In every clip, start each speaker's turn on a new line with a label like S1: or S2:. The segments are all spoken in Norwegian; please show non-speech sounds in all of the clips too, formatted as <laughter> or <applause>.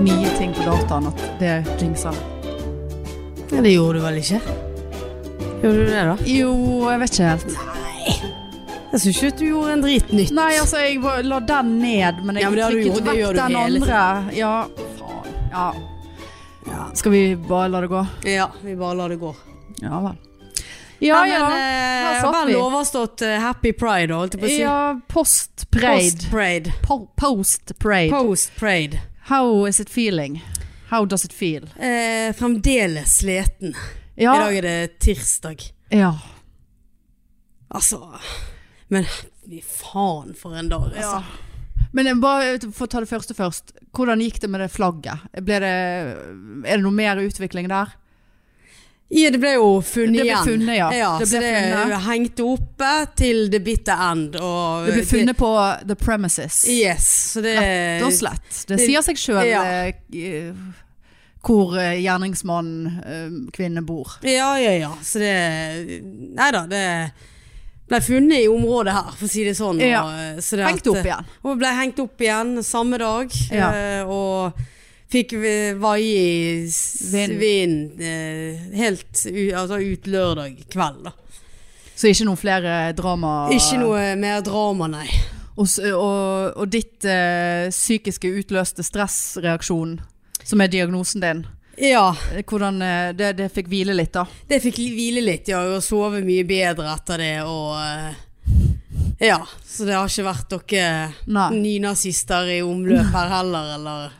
S1: nye ting på dataen at det jinxer det.
S2: Nei, det gjorde du vel ikke? Gjorde du det, da?
S1: Jo, jeg vet ikke helt.
S2: Jeg syns ikke at du gjorde en drit nytt.
S1: Nei, altså, jeg var- la den ned, men jeg
S2: Ja, men det har du
S1: trykket
S2: gjort, det gjør
S1: vekk
S2: du
S1: den
S2: hele
S1: andre. Ja, faen. Ja. Skal vi bare la det gå?
S2: Ja, vi bare lar det gå.
S1: Ja vel. Ja,
S2: Nei,
S1: ja.
S2: men,
S1: her
S2: eh,
S1: satt
S2: vel
S1: vi.
S2: overstått eh, happy pride, holdt jeg på å si.
S1: Ja, post-parade.
S2: Post-parade.
S1: Po- Post-parade.
S2: Post-parade.
S1: How is it feeling? How does it feel?
S2: Eh, fremdeles sliten.
S1: Ja.
S2: I dag er det tirsdag.
S1: ja.
S2: Altså Men fy faen for en dag, altså.
S1: Men jeg bare eh, for å ta det første først. Hvordan gikk det med det flagget? Ble det, er det noe mer utvikling der?
S2: Ja, det ble jo funnet
S1: Det ble
S2: igjen.
S1: funnet, ja. Det
S2: så
S1: ble
S2: det
S1: funnet.
S2: hengte oppe til the bitter end. Og
S1: Det ble funnet på the premises.
S2: Yes, så det
S1: Rett og slett. Det
S2: det-
S1: sier seg sjøl
S2: ja.
S1: hvor eh, gjerningsmannen, eh, kvinne, bor.
S2: Ja, ja, ja. Så det Nei da, det ble funnet i området her, for å si det sånn.
S1: Ja.
S2: og, så det at- eh,
S1: Hengt opp igjen.
S2: Og ble hengt opp igjen samme dag.
S1: Ja.
S2: eh, Og fikk v- vaie i s-
S1: Vind.
S2: vind eh, helt u, altså ut lørdag kveld. Da.
S1: Så ikke noen flere drama
S2: Ikke noe mer drama, nei.
S1: Og, s- og, og ditt eh, psykiske utløste stressreaksjon, som er diagnosen din.
S2: Ja,
S1: Eh, Hvordan eh, det, det fikk hvile litt, da.
S2: det fikk li- hvile litt, ja, og sove mye bedre etter det, og eh, Ja, så det har ikke vært noen
S1: Nei.
S2: nynazister i omløp her heller, eller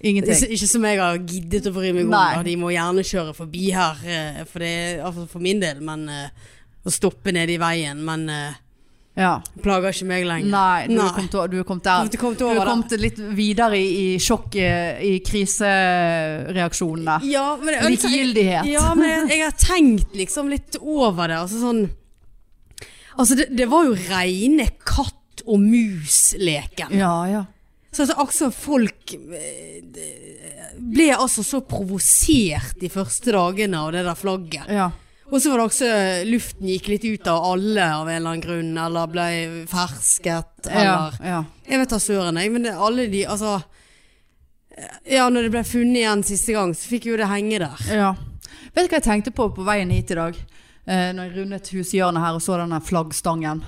S1: Ingenting.
S2: Ikke, ikke som jeg har giddet å bry meg om.
S1: Nei.
S2: da. De må gjerne kjøre forbi her, eh, for, det, er- altså for min del, men eh, å stoppe nede i veien. Men eh,
S1: Ja.
S2: plager ikke meg lenger.
S1: Nei, du
S2: Nei.
S1: er kommet, o- du er kommet
S2: Jeg
S1: der.
S2: har ikke kommet
S1: Du er
S2: over det.
S1: kommet litt videre i, i sjokk, eh, i krisereaksjonene.
S2: Ja, men jeg, ønsker-
S1: Likegyldighet.
S2: Ja, men jeg, jeg har tenkt liksom litt over det. Altså sånn Altså, det, det var jo reine katt og mus-leken.
S1: Ja, ja.
S2: Så altså, altså folk eh, ble altså så provosert de første dagene av det der flagget.
S1: ja.
S2: Og så var det også eh, luften gikk litt ut av alle av en eller annen grunn, eller ble fersket,
S1: Ja,
S2: eller
S1: ja.
S2: Jeg vet da søren, jeg, men det, alle de, altså eh, Ja, når det ble funnet igjen siste gang, så fikk jo det henge der.
S1: ja. Vet du hva jeg tenkte på på veien hit i dag? Eh, når jeg rundet hushjørnet her og så denne
S2: <laughs>
S1: flaggstangen.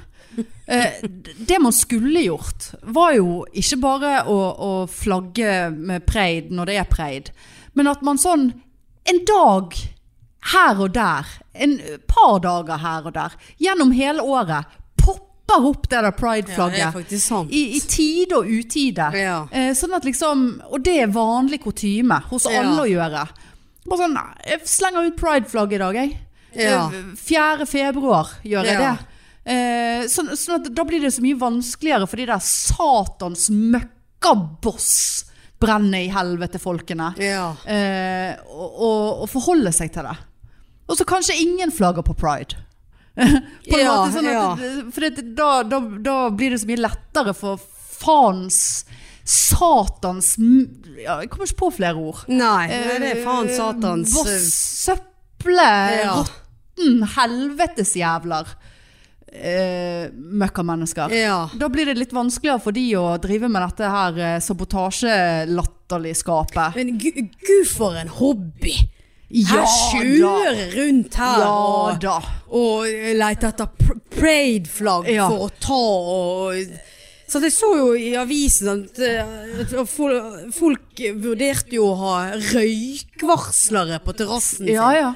S1: Eh, d- det man skulle gjort, var jo ikke bare å, å flagge med preid når det er preid, men at man sånn en dag her og der, en par dager her og der, gjennom hele året, popper opp det der
S2: det er
S1: pride-flagget.
S2: faktisk sant.
S1: I, I tide og utide.
S2: Ja.
S1: Eh, sånn at liksom, og det er vanlig kutyme hos
S2: Ja.
S1: alle å gjøre. Bare sånn, jeg slenger ut prideflagg i dag, jeg.
S2: Ja.
S1: Eh, 4. februar gjør jeg
S2: Ja.
S1: det. Eh, sånn, sånn at da blir det så mye vanskeligere for de der satans møkkaboss brenne i helvete-folkene.
S2: Ja.
S1: Eh, og, og, og forholde seg til det. Og så kanskje ingen flagger på pride. <laughs> på en
S2: Ja,
S1: måte sånn at, For det, da, da, da blir det så mye lettere for faens, satans m- ja, Jeg kommer ikke på flere ord.
S2: Nei, nei, det er faen satans
S1: Eh,
S2: eh,
S1: Voss, søple,
S2: Ja.
S1: rotten, helvetesjævler. Eh, møkkamennesker.
S2: ja.
S1: Da blir det litt vanskeligere for de å drive med dette her eh, sabotasjelatterligskapet.
S2: Men gu- gud, for en hobby!
S1: Ja
S2: Her
S1: da!
S2: kjører rundt her
S1: Ja
S2: og,
S1: da.
S2: og eh, leter etter pr- pride-flagg
S1: Ja.
S2: for å ta og Så jeg så jo i avisen at, eh, at fol- folk vurderte jo å ha røykvarslere på terrassen sin.
S1: Ja, ja.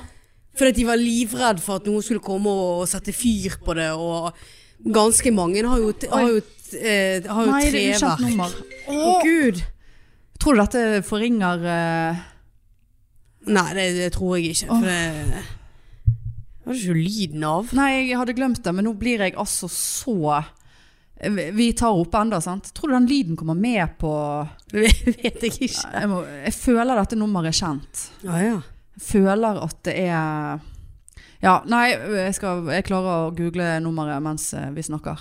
S2: Fordi at de var livredd for at noen skulle komme og sette fyr på det. Og ganske mange har jo, t- har jo, t- eh, har jo
S1: Nei, det er ukjent
S2: treverk.
S1: nummer.
S2: Å gud!
S1: Tror du dette forringer eh,
S2: Nei, det, det tror jeg ikke. For det det var ikke lyden av.
S1: Nei, jeg hadde glemt det, men nå blir jeg altså så eh, Vi vi tar opp enda, sant? Tror du den lyden kommer med på
S2: <laughs>
S1: eh,
S2: Det vet jeg ikke.
S1: Jeg, må, jeg føler dette nummeret er kjent.
S2: Ja, ja.
S1: Jeg føler at det er Ja, nei, jeg, skal, jeg klarer å google nummeret mens eh, vi snakker.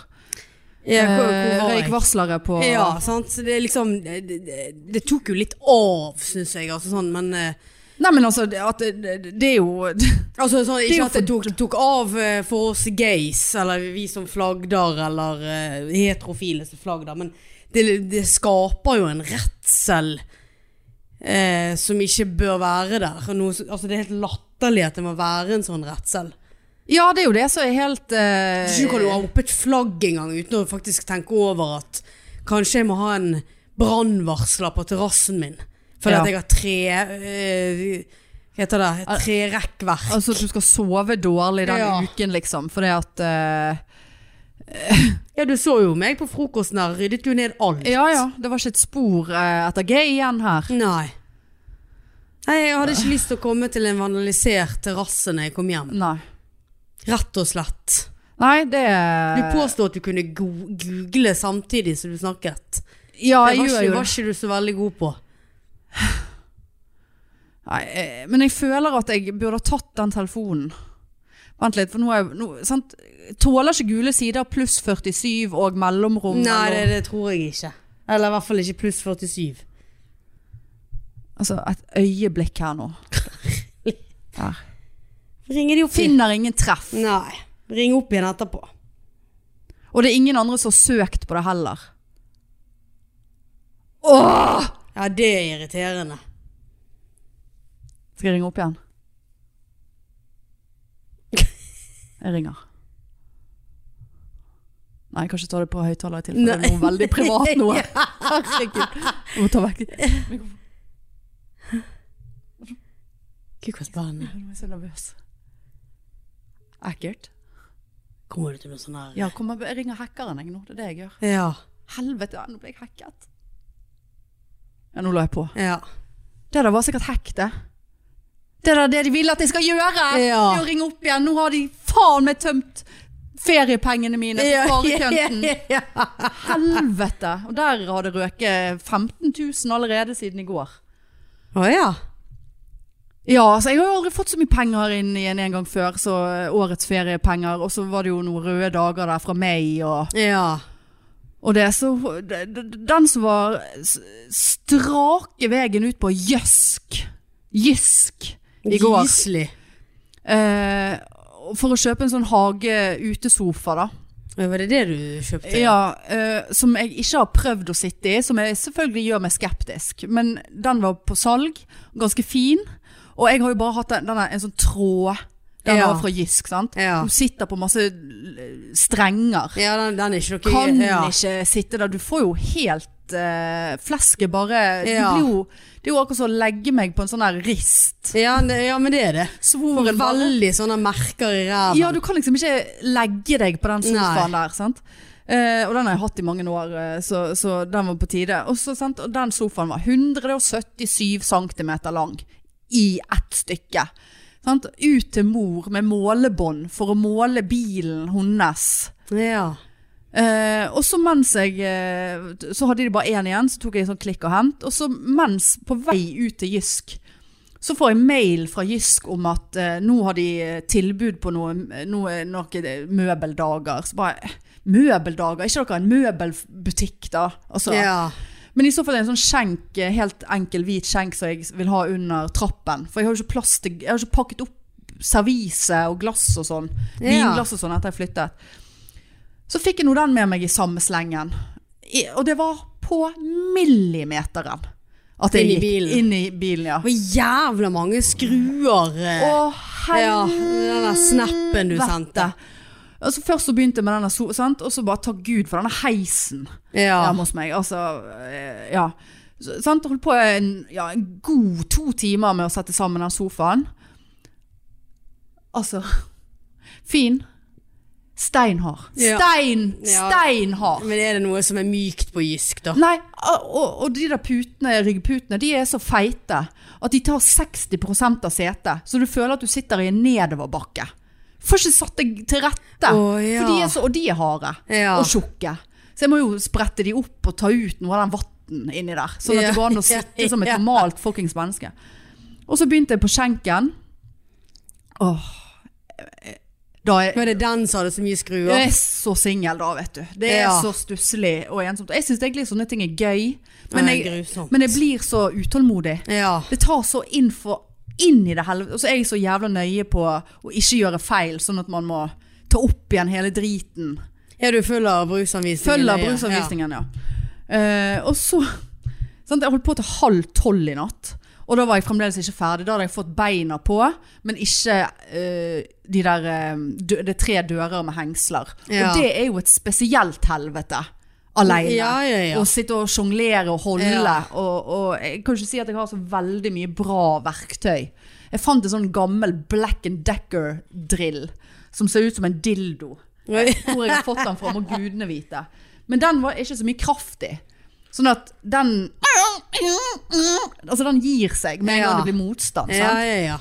S2: ja
S1: Eh,
S2: hvor, hvor var jeg?
S1: Røykvarslere på
S2: Ja, sant. Så Det, er liksom, det, det, det tok jo litt av, syns jeg. Altså, sånn, men eh,
S1: Nei, men altså, det, at det, det- det er jo <laughs>
S2: altså, sånn,
S1: er jo
S2: Ikke at det tok, tok av eh, for oss gays, eller vi som flagder, eller eh, heterofile som flagder, men det, det skaper jo en redsel eh, som ikke bør være der. Og Noe, som- altså det er helt latterlig at det må være en sånn redsel.
S1: Ja, det er jo det som er helt eh,
S2: Ikke kan du ha opp et flagg engang uten å faktisk tenke over at kanskje jeg må ha en brannvarsler på terrassen min. Fordi
S1: Ja.
S2: at jeg har tre eh, Hva heter det? Trerekkverk.
S1: Altså at du skal sove dårlig den
S2: Ja.
S1: uken, liksom. Fordi at eh,
S2: Ja, du så jo meg på frokosten her. Ryddet jo ned alt.
S1: Ja ja, det var ikke et spor eh, etter G igjen her.
S2: Nei. Nei, jeg hadde ikke lyst til å komme til en vandalisert terrasse når jeg kom hjem.
S1: Nei.
S2: Rett og slett.
S1: Nei, det
S2: Du
S1: Eh.
S2: påstår at du kunne go google samtidig som du snakket.
S1: Ja,
S2: Det
S1: jeg gjør
S2: var ikke,
S1: jo
S2: var ikke du så veldig god på.
S1: Nei, eh, men jeg føler at jeg burde ha tatt den telefonen. Vent litt, for nå er jeg nå, sant? Tåler ikke gule sider pluss 47 og mellomrom?
S2: Nei,
S1: mellom-
S2: det, det tror jeg ikke. Eller i hvert fall ikke pluss 47.
S1: Altså, et øyeblikk her nå. Her.
S2: Ringer de opp igjen?
S1: Finner ingen treff.
S2: Nei. Ring opp igjen etterpå.
S1: Og det er ingen andre som har søkt på det heller. Åh!
S2: Ja, det er irriterende.
S1: Skal jeg ringe opp igjen? Jeg ringer. Nei, kanskje ta det på høyttaler i tilfelle det er noe veldig privat nå.
S2: <laughs>
S1: Herregud. Jeg må ta vekk
S2: Gud, hvor spennende.
S1: Nå er jeg så nervøs. Ekkelt.
S2: Kommer du til noe sånn her?
S1: Ja, kom, jeg ringer hackeren jeg nå. Det er det jeg gjør.
S2: Ja.
S1: Helvete, ja, nå ble jeg hacket. Ja, nå la jeg på.
S2: Ja.
S1: Det der var sikkert hack, det. Det der er det de vil at jeg skal gjøre.
S2: Ja.
S1: Det er å ringe opp igjen. Nå har de faen meg tømt feriepengene mine på
S2: <laughs>
S1: sparekønten. <laughs> Helvete. Og der har det røket 15 000 allerede siden i går.
S2: Å ja.
S1: Ja, altså jeg har jo aldri fått så mye penger inn igjen en gang før, så eh, årets feriepenger, og så var det jo noen røde dager der fra meg, og,
S2: Ja.
S1: og det er så d- d- Den som var s- strake veien ut på Jøsk, Jysk, i går.
S2: Gislig.
S1: Eh, for å kjøpe en sånn hage-utesofa, da.
S2: Ja, Var det det du kjøpte?
S1: Ja, eh, som jeg ikke har prøvd å sitte i, som jeg selvfølgelig gjør meg skeptisk. Men den var på salg, ganske fin. Og jeg har jo bare hatt den, denne, en sånn tråd. Den
S2: Ja.
S1: var fra Jysk, sant?
S2: Ja.
S1: Du sitter på masse l- strenger.
S2: Ja, den, den er ikke noe
S1: Kan
S2: ja.
S1: ikke sitte der. Du får jo helt eh, flesket bare du
S2: Ja.
S1: blir jo, Det er jo akkurat som å legge meg på en sånn her rist.
S2: Ja, det, ja, men det er det. Får
S1: Svoren bare
S2: veldig sånne merker i ræven.
S1: Ja, du kan liksom ikke legge deg på den sofaen der, sant? Eh, og den har jeg hatt i mange år, eh, så, så den var på tide. Og, så, sant? og den sofaen var 177 cm lang i ett stykke. Sant? Ut til mor med målebånd for å måle bilen hennes.
S2: Ja.
S1: Eh, og så mens jeg eh, Så hadde de bare én igjen, så tok jeg en sånn klikk og hent. Og så mens, på vei ut til Jysk, så får jeg mail fra Jysk om at eh, nå har de eh, tilbud på noe, noe, noen møbeldager. Så bare eh, Møbeldager? Er ikke dere en møbelbutikk, da? Altså,
S2: ja.
S1: Men i så fall er det en sånn skjenk, eh, helt enkel hvit skjenk som jeg vil ha under trappen. For jeg har jo ikke plass til Jeg har ikke pakket opp servise og glass og sånn.
S2: Ja.
S1: Vinglass og sånn etter jeg flyttet. Så fikk jeg nå den med meg i samme slengen. I, og det var på millimeteren at jeg
S2: Inn i
S1: gikk
S2: bilen.
S1: inn i bilen. Ja.
S2: Det var jævla mange skruer. eh.
S1: Å,
S2: ja, den der snappen du sendte.
S1: Altså, først så begynte jeg med denne, so- sant? og så bare takk Gud for denne heisen.
S2: Ja.
S1: hjemme hos meg. Altså, eh, ja. Så, sant? Holdt på en, ja, en god to timer med å sette sammen den sofaen. Altså <laughs> Fin. Steinhard.
S2: Ja.
S1: Stein!
S2: Ja.
S1: Steinhard!
S2: Men er det noe som er mykt på Jysk, da?
S1: Nei, og, og de der putene, ryggputene, de er så feite at de tar 60 av setet, så du føler at du sitter i en nedoverbakke. Får ikke satt deg til rette.
S2: Å, ja.
S1: For de er så, og de er harde
S2: Ja.
S1: og tjukke. Så jeg må jo sprette de opp og ta ut noe av den vatten inni der. Sånn at det
S2: Ja.
S1: går an å sitte som et
S2: <laughs> Ja.
S1: normalt fuckings menneske. Og så begynte jeg på skjenken. Åh. Da er
S2: Men det er den som hadde så mye
S1: jeg
S2: skruer?
S1: er så singel da, vet du. Det er
S2: Ja.
S1: så stusslig og ensomt. Og Jeg syns egentlig sånne ting er gøy, men
S2: Nei,
S1: jeg,
S2: grusomt.
S1: men jeg blir så utålmodig.
S2: Ja.
S1: Det tar så inn, for, inn i det helvete. Og så er jeg så jævla nøye på å ikke gjøre feil, sånn at man må ta opp igjen hele driten.
S2: Er du følger bruksanvisningen?
S1: Følger
S2: nøye?
S1: bruksanvisningen, ja. Eh, og så sant, Jeg holdt på til halv tolv i natt. Og da var jeg fremdeles ikke ferdig. Da hadde jeg fått beina på, men ikke eh, de der eh, dø, Det er tre dører med hengsler.
S2: Ja.
S1: Og det er jo et spesielt helvete. Aleine.
S2: Ja, ja, ja.
S1: Å sitte og sjonglere og holde.
S2: Ja.
S1: Og, og jeg kan ikke si at jeg har så veldig mye bra verktøy. Jeg fant en sånn gammel Black and Decker-drill som ser ut som en dildo. Hvor jeg har fått den fra, må gudene vite. Men den var ikke så mye kraft i. Sånn at den Altså, den gir seg med en gang
S2: Ja.
S1: det blir motstand. Sant?
S2: Ja, ja, ja.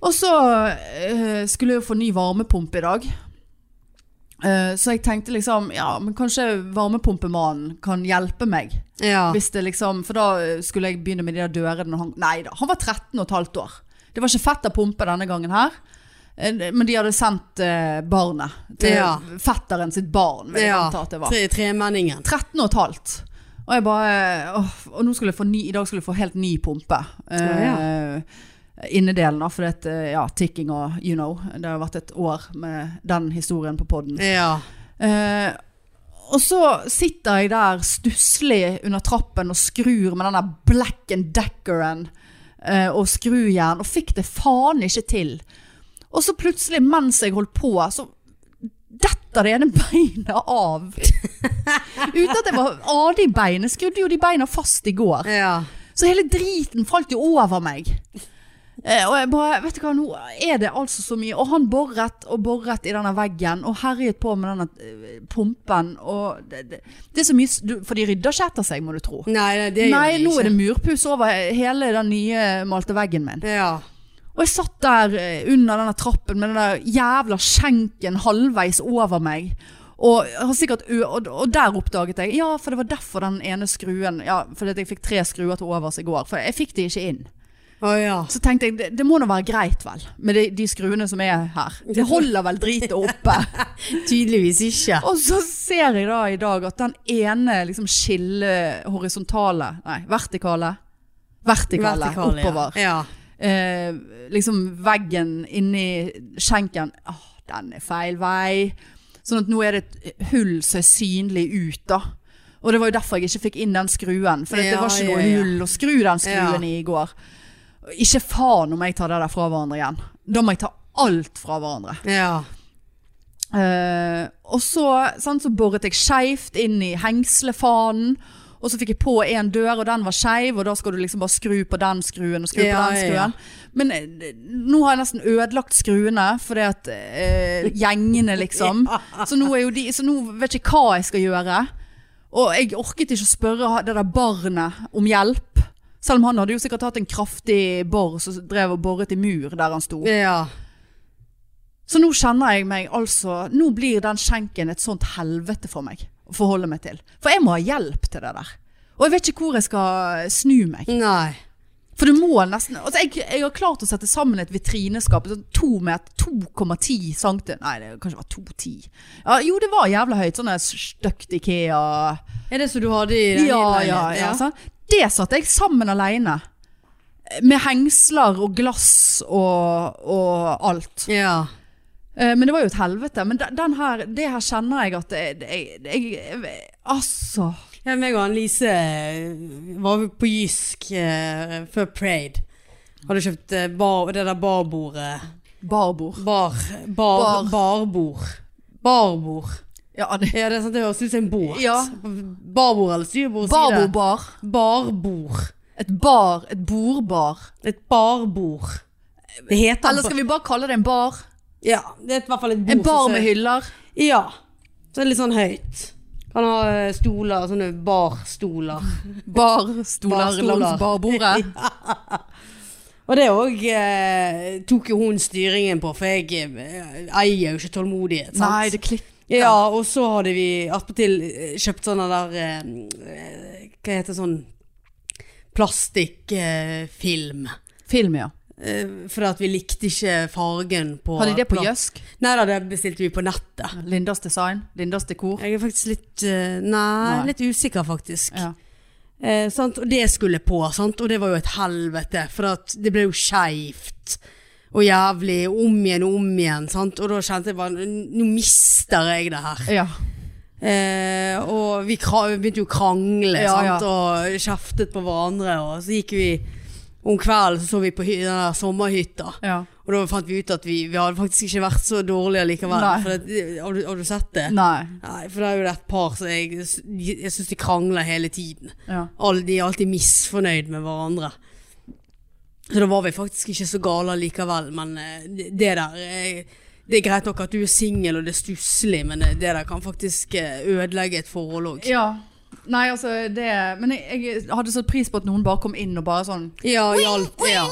S1: Og så eh, skulle jeg jo få ny varmepumpe i dag. Eh, så jeg tenkte liksom Ja, men kanskje varmepumpemannen kan hjelpe meg.
S2: ja.
S1: Hvis det liksom For da skulle jeg begynne med de der dørene. og Han, nei da, han var 13 og et halvt år. Det var ikke fett av pumpe denne gangen her. Eh, Men de hadde sendt eh, barnet til
S2: Ja.
S1: fetteren sitt barn, vil jeg
S2: Ja.
S1: anta at det var.
S2: Tre, tremenningen.
S1: 13 og et halvt. Og jeg bare eh, åh, Og nå skulle jeg få ny, i dag skulle jeg få helt ny pumpe. Eh, Innedelen, da. For det er et, eh, ja, tikking og you know. Det har vært et år med den historien på poden.
S2: Ja.
S1: Eh, og så sitter jeg der stusslig under trappen og skrur med denne black and deckeren eh, og skrujern, og fikk det faen ikke til. Og så plutselig, mens jeg holdt på, så detter det ene <laughs> beinet av. Uten at jeg var av de beinet. Skrudde jo de beina fast i går.
S2: Ja.
S1: Så hele driten falt jo over meg. Eh, og jeg bare, vet du hva, nå er det altså så mye. Og han borret og borret i denne veggen, og herjet på med denne eh, pumpen. Og det, det, det er så mye, s- du, for de rydder ikke etter seg, må du tro.
S2: Nei, nei, det gjør
S1: Nei,
S2: jeg
S1: nå
S2: ikke.
S1: er det murpuss over hele den nye malte veggen min.
S2: Ja.
S1: Og jeg satt der eh, under denne trappen med den der jævla skjenken halvveis over meg. Og, har sikkert, ø- og, og der oppdaget jeg Ja, for det var derfor den ene skruen Ja, fordi at jeg fikk tre skruer til overs i går. For jeg fikk de ikke inn.
S2: Å ja.
S1: Så tenkte jeg, det, det må nå være greit vel Med de, de skruene som er her Det holder vel dritet oppe
S2: <laughs> Tydeligvis ikke.
S1: Og så ser jeg da i dag at den ene liksom skille horisontale Nei, vertikale Vertikale,
S2: Vertikale, ja.
S1: oppover
S2: Ja.
S1: eh, Liksom veggen inni skjenken Åh, den er feil vei Sånn at nå er det et hull som er synlig ut da Og det var jo derfor jeg ikke fikk inn den skruen For det
S2: Ja,
S1: var ikke
S2: ja,
S1: noe
S2: ja.
S1: hull å skru den skruen i i går Ikke faen om jeg tar det der fra hverandre igjen Da må jeg ta alt fra hverandre
S2: Ja.
S1: Eh, og så, sant, så boret jeg skeivt inn i hengslefanen. Og så fikk jeg på en dør, og den var skeiv, og da skal du liksom bare skru på den skruen og skru på
S2: Ja,
S1: den
S2: ja,
S1: skruen. Men eh, nå har jeg nesten ødelagt skruene, fordi at eh, gjengene,
S2: <laughs>
S1: liksom. Så nå, er jo de, så nå vet jeg ikke hva jeg skal gjøre. Og jeg orket ikke å spørre ha- det der barnet om hjelp. Selv om han hadde jo sikkert hatt en kraftig bor som drev og boret i mur der han sto.
S2: Ja.
S1: Så nå kjenner jeg meg altså Nå blir den skjenken et sånt helvete for meg å forholde meg til. For jeg må ha hjelp til det der. Og jeg vet ikke hvor jeg skal eh, snu meg.
S2: Nei.
S1: For du må nesten altså jeg, jeg har klart å sette sammen et vitrineskap. Sånn to meter, 2,10 cm Nei, det kanskje var 2,10. Ja, jo, det var jævla høyt. Sånn der stygt Ikea
S2: Er det som du hadde i
S1: Ja,
S2: den
S1: ja, ja.
S2: innleien?
S1: sant? Det satte jeg sammen aleine. Med hengsler og glass og, og alt.
S2: ja.
S1: Eh, Men det var jo et helvete. Men de- den her, det her kjenner jeg at det- det- jeg, jeg, jeg Altså.
S2: Ja, meg og Annelise eh, var jo på Jysk eh, før Parade. Hadde kjøpt eh, bar, det der barbordet.
S1: Barbord.
S2: Bar, bar,
S1: Bar.
S2: Barbord. Barbord.
S1: Ja, det-
S2: Ja, det er sant, det høres ut som en båt.
S1: Ja.
S2: Barbord eller styrbord, si det.
S1: Barbordbar.
S2: Barbord.
S1: Et bar. Et bordbar.
S2: Et barbord. Det heter
S1: Eller skal vi bare kalle det en bar?
S2: Ja, det er i hvert fall et bord.
S1: En bar
S2: som
S1: med
S2: ser-
S1: hyller.
S2: Ja. Så det er litt sånn høyt. Kan ha eh, stoler, sånne barstoler.
S1: Barstoler
S2: Barstoler.
S1: langs <laughs> barbordet.
S2: Og det òg eh, tok jo hun styringen på, for jeg eh, eier jo ikke tålmodighet. Sant?
S1: Nei, det klikker.
S2: Ja, og så hadde vi attpåtil eh, kjøpt sånne der eh, Hva heter sånn plastikkfilm.
S1: Film, ja.
S2: Fordi at vi likte ikke fargen på
S1: Har de det på
S2: pla-
S1: Jøsk?
S2: Nei da, det bestilte vi på nettet.
S1: Lindas design? Lindas dekor?
S2: Jeg er faktisk litt eh, nei,
S1: Nei.
S2: litt usikker faktisk.
S1: Ja.
S2: Eh, sant? Og det skulle på, sant? og det var jo et helvete, for at det ble jo skeivt og jævlig. Om igjen og om igjen. Sant? Og da kjente jeg bare Nå mister jeg det her.
S1: ja.
S2: Eh, og vi kra- begynte jo å krangle
S1: Ja,
S2: sant? og kjeftet på hverandre, og så gikk vi Om kvelden så så vi på hy- den der sommerhytta.
S1: Ja.
S2: Og da fant vi ut at vi, vi hadde faktisk ikke vært så dårlige likevel.
S1: Nei.
S2: For det, har, du, har du sett det?
S1: Nei.
S2: Nei, for det er jo det et par som jeg, de- jeg syns de krangler hele tiden.
S1: Ja.
S2: Alle, de er alltid misfornøyd med hverandre. Så da var vi faktisk ikke så gale likevel, men eh, det det der eh, Det er greit nok at du er singel og det er stusslig, men eh, det der kan faktisk eh, ødelegge et forhold òg.
S1: ja. Nei, altså det Men jeg, jeg hadde satt pris på at noen bare kom inn og bare sånn
S2: Ja, i alt. Ja.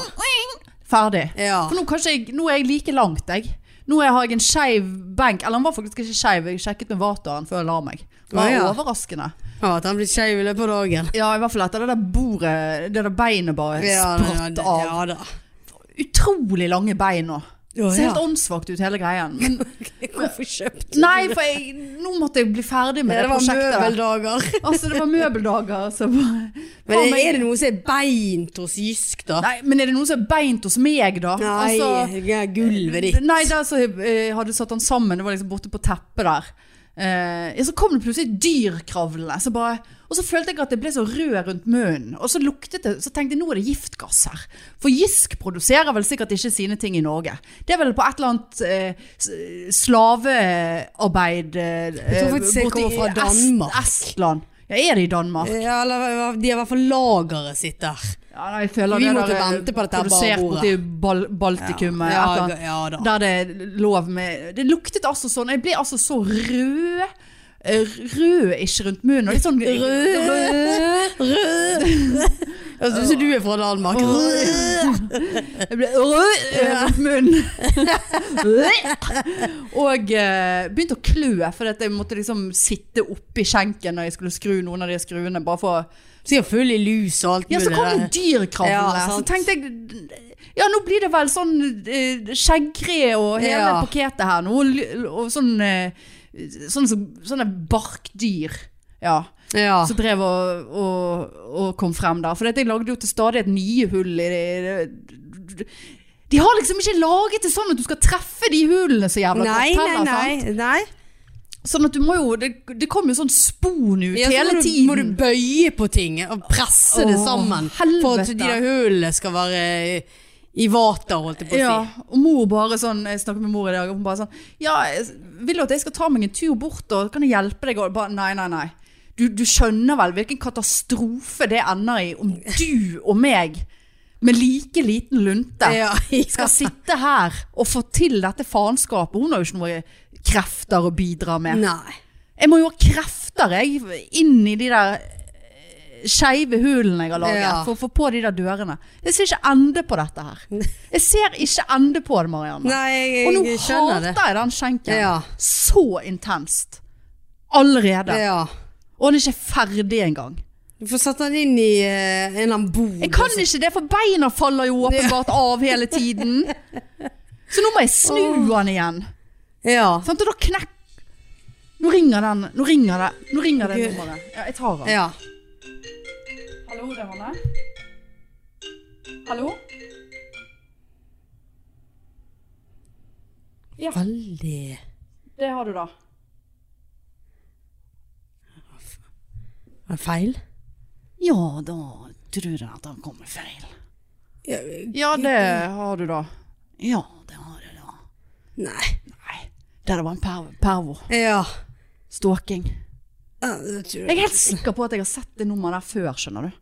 S1: Ferdig.
S2: ja.
S1: For nå, kanskje jeg, nå er jeg like langt, jeg. Nå er- har jeg en skeiv benk. Eller han var faktisk ikke skeiv, jeg sjekket med vateren før jeg la meg. Det var
S2: Å, ja.
S1: overraskende.
S2: ja at han blir skeiv i løpet av dagen.
S1: Ja, i hvert fall etter det der bordet, det der beinet bare
S2: Ja, ja,
S1: spratt av.
S2: Ja da.
S1: Utrolig lange bein nå.
S2: Ja,
S1: Ser helt
S2: ja.
S1: åndssvakt ut hele
S2: <laughs>
S1: greien. Men,
S2: Hvorfor kjøpte du
S1: nei, for jeg, nå måtte jeg bli ferdig med det,
S2: Ja, det var
S1: prosjektet.
S2: møbeldager.
S1: <laughs> Altså, det var møbeldager. Så bare,
S2: Men
S1: Faen,
S2: er, er det noe som er beint hos Jysk, da?
S1: Nei, men er det noen som er beint hos meg, da?
S2: Nei,
S1: Altså,
S2: det er gulvet ditt.
S1: Nei, der så eh, hadde satt han sammen. Det var liksom borte på teppet der. Eh, ja, så kom det plutselig et dyr kravlende. Så bare, og så følte jeg at det ble så rød rundt munnen. Og så luktet det, så tenkte jeg nå er det giftgass her. For Jysk produserer vel sikkert ikke sine ting i Norge. Det er vel på et eller annet eh, s- slavearbeid eh,
S2: tror faktisk det
S1: borte i
S2: kommer fra
S1: Est-
S2: Danmark. Eh,
S1: Estland. Ja, er det i Danmark?
S2: Ja, eller de har i hvert fall lageret sitt der.
S1: Ja, nei, jeg føler
S2: Vi
S1: det
S2: måtte
S1: der er
S2: vente på dette
S1: Produsert
S2: barbordet.
S1: borti Bal Baltikum.
S2: Ja.
S1: et
S2: Ja,
S1: eller annet.
S2: ja da.
S1: Der det er lov med Det luktet altså sånn. Jeg ble altså så rød. eh, Rød ikke rundt munnen. Og litt sånn
S2: Rød. Rød. Jeg syns Altså, du er fra Danmark. Rød.
S1: Jeg ble rød eh, rundt munnen. <laughs> Og eh, begynte å klø, for at jeg måtte liksom sitte oppi skjenken når jeg skulle skru noen av de skruene. Bare for
S2: Sikkert full i lus og alt
S1: Ja, så
S2: mulig
S1: kom
S2: der.
S1: det dyrkravlene.
S2: Ja,
S1: så
S2: sant.
S1: tenkte jeg Ja, nå blir det vel sånn eh, skjeggkre og hele
S2: Ja.
S1: paketet her nå. Og, ly- og sånn eh, sånn, som- Sånne barkdyr. Ja.
S2: Ja.
S1: Som drev og, og, og kom frem der. For at jeg lagde jo til stadighet nye hull i det. De har liksom ikke laget det sånn at du skal treffe de hullene så jævla
S2: Nei,
S1: godt
S2: nei,
S1: heller. sant?
S2: nei. nei.
S1: Sånn at du må jo Det, det kom jo sånn spon ut
S2: Ja, så må
S1: hele
S2: du-
S1: tiden.
S2: Må du bøye på ting og presse det
S1: Åh,
S2: sammen for at de
S1: helvete.
S2: der hullene skal være i vater, holdt jeg på å si.
S1: Ja, og mor bare sånn Jeg snakker med mor i dag, og hun bare sånn Ja, jeg- vil du at jeg skal ta meg en tur bort, og kan jeg hjelpe deg? Og bare nei, nei, nei. Du, du skjønner vel hvilken katastrofe det ender i om du og meg med like liten lunte
S2: Ja, <laughs> ja.
S1: skal sitte her og få til dette faenskapet. Hun har jo ikke noe krefter å bidra med.
S2: Nei.
S1: Jeg må jo ha krefter, jeg, inn i de der eh, skeive hulene jeg har laget
S2: Ja.
S1: for å få på de der dørene. Jeg ser ikke ende på dette her. Jeg ser ikke ende på det, Marianne.
S2: Nei, jeg,
S1: Og nå
S2: jeg skjønner
S1: hater
S2: det.
S1: jeg den skjenken
S2: Ja.
S1: så intenst. Allerede.
S2: Ja.
S1: Og den er ikke ferdig engang.
S2: Du får sette den inn i eh, en eller annen bod.
S1: Jeg kan ikke det, for beina faller jo åpenbart av hele
S2: <laughs>
S1: tiden. Så nå må jeg snu den igjen.
S2: Ja.
S1: Sant? Og da knekk... Nå ringer den, nå ringer det, nå ringer det
S2: Gud.
S1: nummeret. Ja, jeg tar den.
S2: ja.
S1: Hallo, det er Hanne. Hallo?
S2: Veldig
S1: Det har du da.
S2: Var det feil?
S1: Ja, da tror jeg at han kommer feil.
S2: Ja,
S1: Ja, det har du da. Ja, det har du da.
S2: Nei.
S1: Nei, det var en pervo. pervo.
S2: Ja.
S1: Stalking.
S2: Ja, Da tror
S1: Jeg
S2: jeg
S1: er helt sikker på at jeg har sett det nummeret der før, skjønner du.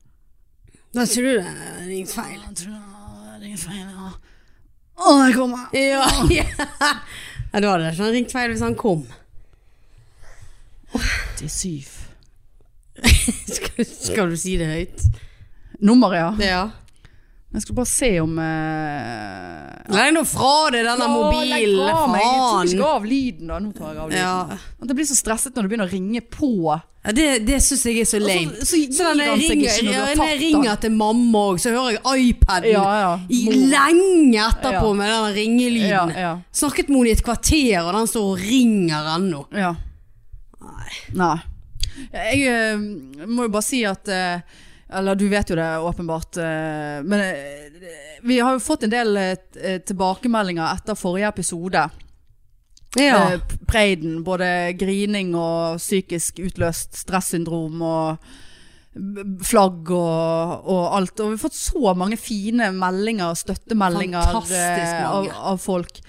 S2: Da tror du det er ringt feil.
S1: Jeg tror det er ingen feil, ja. Å, jeg kommer.
S2: Ja.
S1: <laughs>
S2: ja. Da hadde det ikke ringt feil hvis han kom.
S1: 87.
S2: Skal, skal du si det høyt?
S1: Nummeret, ja.
S2: Ja.
S1: Jeg skulle bare se om... eh,
S2: Legg nå fra deg denne
S1: Åh, legg
S2: mobilen,
S1: fra meg. Jeg tok
S2: faen!
S1: ikke av lyden da. Nå tar jeg av lyden.
S2: Ja.
S1: At jeg blir så stresset når du begynner å ringe på.
S2: Ja, det det syns jeg er så lame.
S1: så gir
S2: Så når jeg
S1: han seg
S2: ringer,
S1: Altså, ikke når du har
S2: ja, når jeg
S1: tatt
S2: ringer til mamma òg, så hører jeg iPaden
S1: Ja, ja.
S2: i
S1: Mor.
S2: lenge etterpå
S1: Ja.
S2: med den ringelyden.
S1: Ja, ja.
S2: Snakket med henne i et kvarter, og den står og ringer ennå.
S1: Ja. Nei. Jeg eh, må jo bare si at eh, Eller du vet jo det åpenbart, eh, men eh, vi har jo fått en del eh, t- eh, tilbakemeldinger etter forrige episode.
S2: Ja.
S1: eh, p- Preiden. Både grining og psykisk utløst stressyndrom og b- flagg og, og alt. Og vi har fått så mange fine meldinger og støttemeldinger
S2: Fantastisk
S1: eh, av,
S2: mange.
S1: av folk.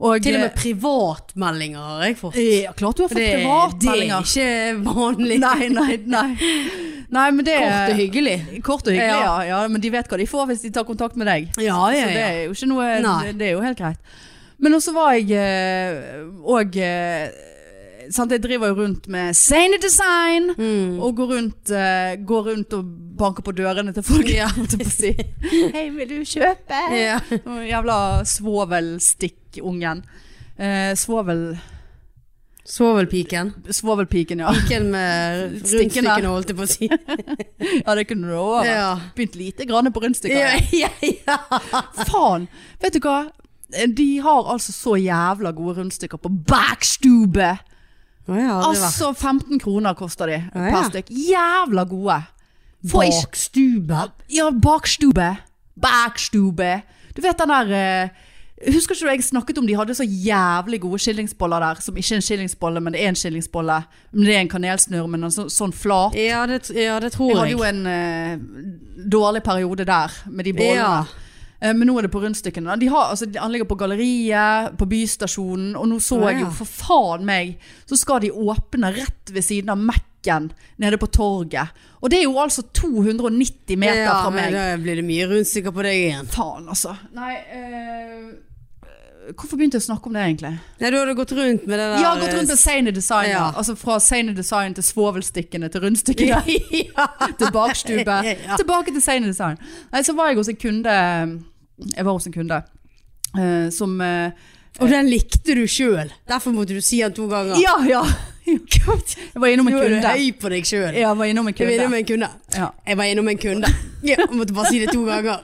S1: Og,
S2: Til og med privatmeldinger har jeg fått.
S1: eh, ja, Klart du har fått privatmeldinger.
S2: Det er ikke vanlig.
S1: Nei, nei, nei. nei men det,
S2: Kort og hyggelig.
S1: Kort og hyggelig, ja. ja.
S2: Ja.
S1: Men de vet hva de får hvis de tar kontakt med deg.
S2: Ja, ja,
S1: Så det
S2: ja.
S1: er jo ikke noe
S2: Nei.
S1: Det er jo helt greit. Men også var jeg òg Sant, jeg driver jo rundt med Sane Design.
S2: Mm.
S1: Og går rundt, eh, går rundt og banker på dørene til folk.
S2: Ja.
S1: <laughs> holdt jeg på å
S2: <laughs>
S1: si. Hei, vil du kjøpe?
S2: Ja.
S1: Og Jævla svovelstikkungen. Eh, svovel,
S2: Svovelpiken.
S1: svovelpiken, ja. <laughs>
S2: Piken med
S1: Stikkene.
S2: rundstykkene, holdt jeg på å
S1: <laughs>
S2: si.
S1: Ja, det kunne du òg. vært.
S2: Ja.
S1: Begynt lite grann på rundstykker.
S2: Ja, ja, ja.
S1: Faen! Vet du hva? De har altså så jævla gode rundstykker på Backstube!
S2: Å, ja, det var-
S1: Altså 15 kroner koster de
S2: Ja, ja.
S1: per stykk. Jævla gode! Får ikke
S2: Bakstube.
S1: Ja, bakstube. Bakstube. Du vet den der eh, Husker ikke du jeg snakket om de hadde så jævlig gode skillingsboller der? Som ikke er en skillingsbolle, men det er en skillingsbolle. Men det er en kanelsnurr, men en så, sånn flat.
S2: Ja, det, ja, det tror
S1: Jeg hadde
S2: jeg.
S1: jo en eh, dårlig periode der, med de bollene.
S2: Ja.
S1: Eh, Men nå er det på rundstykkene. da. De har, altså, de- han ligger på galleriet, på Bystasjonen, og nå så
S2: Å,
S1: jeg jo,
S2: ja.
S1: for faen meg, så skal de åpne rett ved siden av Mac-en nede på torget. Og det er jo altså 290 meter
S2: ja,
S1: fra
S2: men
S1: meg.
S2: Da blir det mye rundstykker på deg igjen.
S1: Faen, altså. Nei, eh, hvorfor begynte jeg å snakke om det, egentlig?
S2: Nei, du hadde gått rundt med det der
S1: Jeg har gått rundt med Sane Design. Ja.
S2: Ja.
S1: Altså fra Sane Design til svovelstikkene til rundstykkene.
S2: eh, <laughs> ja.
S1: til bakstube.
S2: <laughs> Ja.
S1: Tilbake til Sane Design. Nei, så var jeg hos en kunde Jeg var hos en kunde eh, som eh,
S2: Og den likte du sjøl. Derfor måtte du si den to ganger.
S1: Ja, <laughs> ja! Jeg var innom en
S2: Nå er du
S1: kunde.
S2: høy på deg sjøl.
S1: Jeg var innom en
S2: Jeg var innom
S1: kunde.
S2: en kunde.
S1: Ja.
S2: Jeg var innom en kunde. Ja, jeg måtte bare si det to ganger.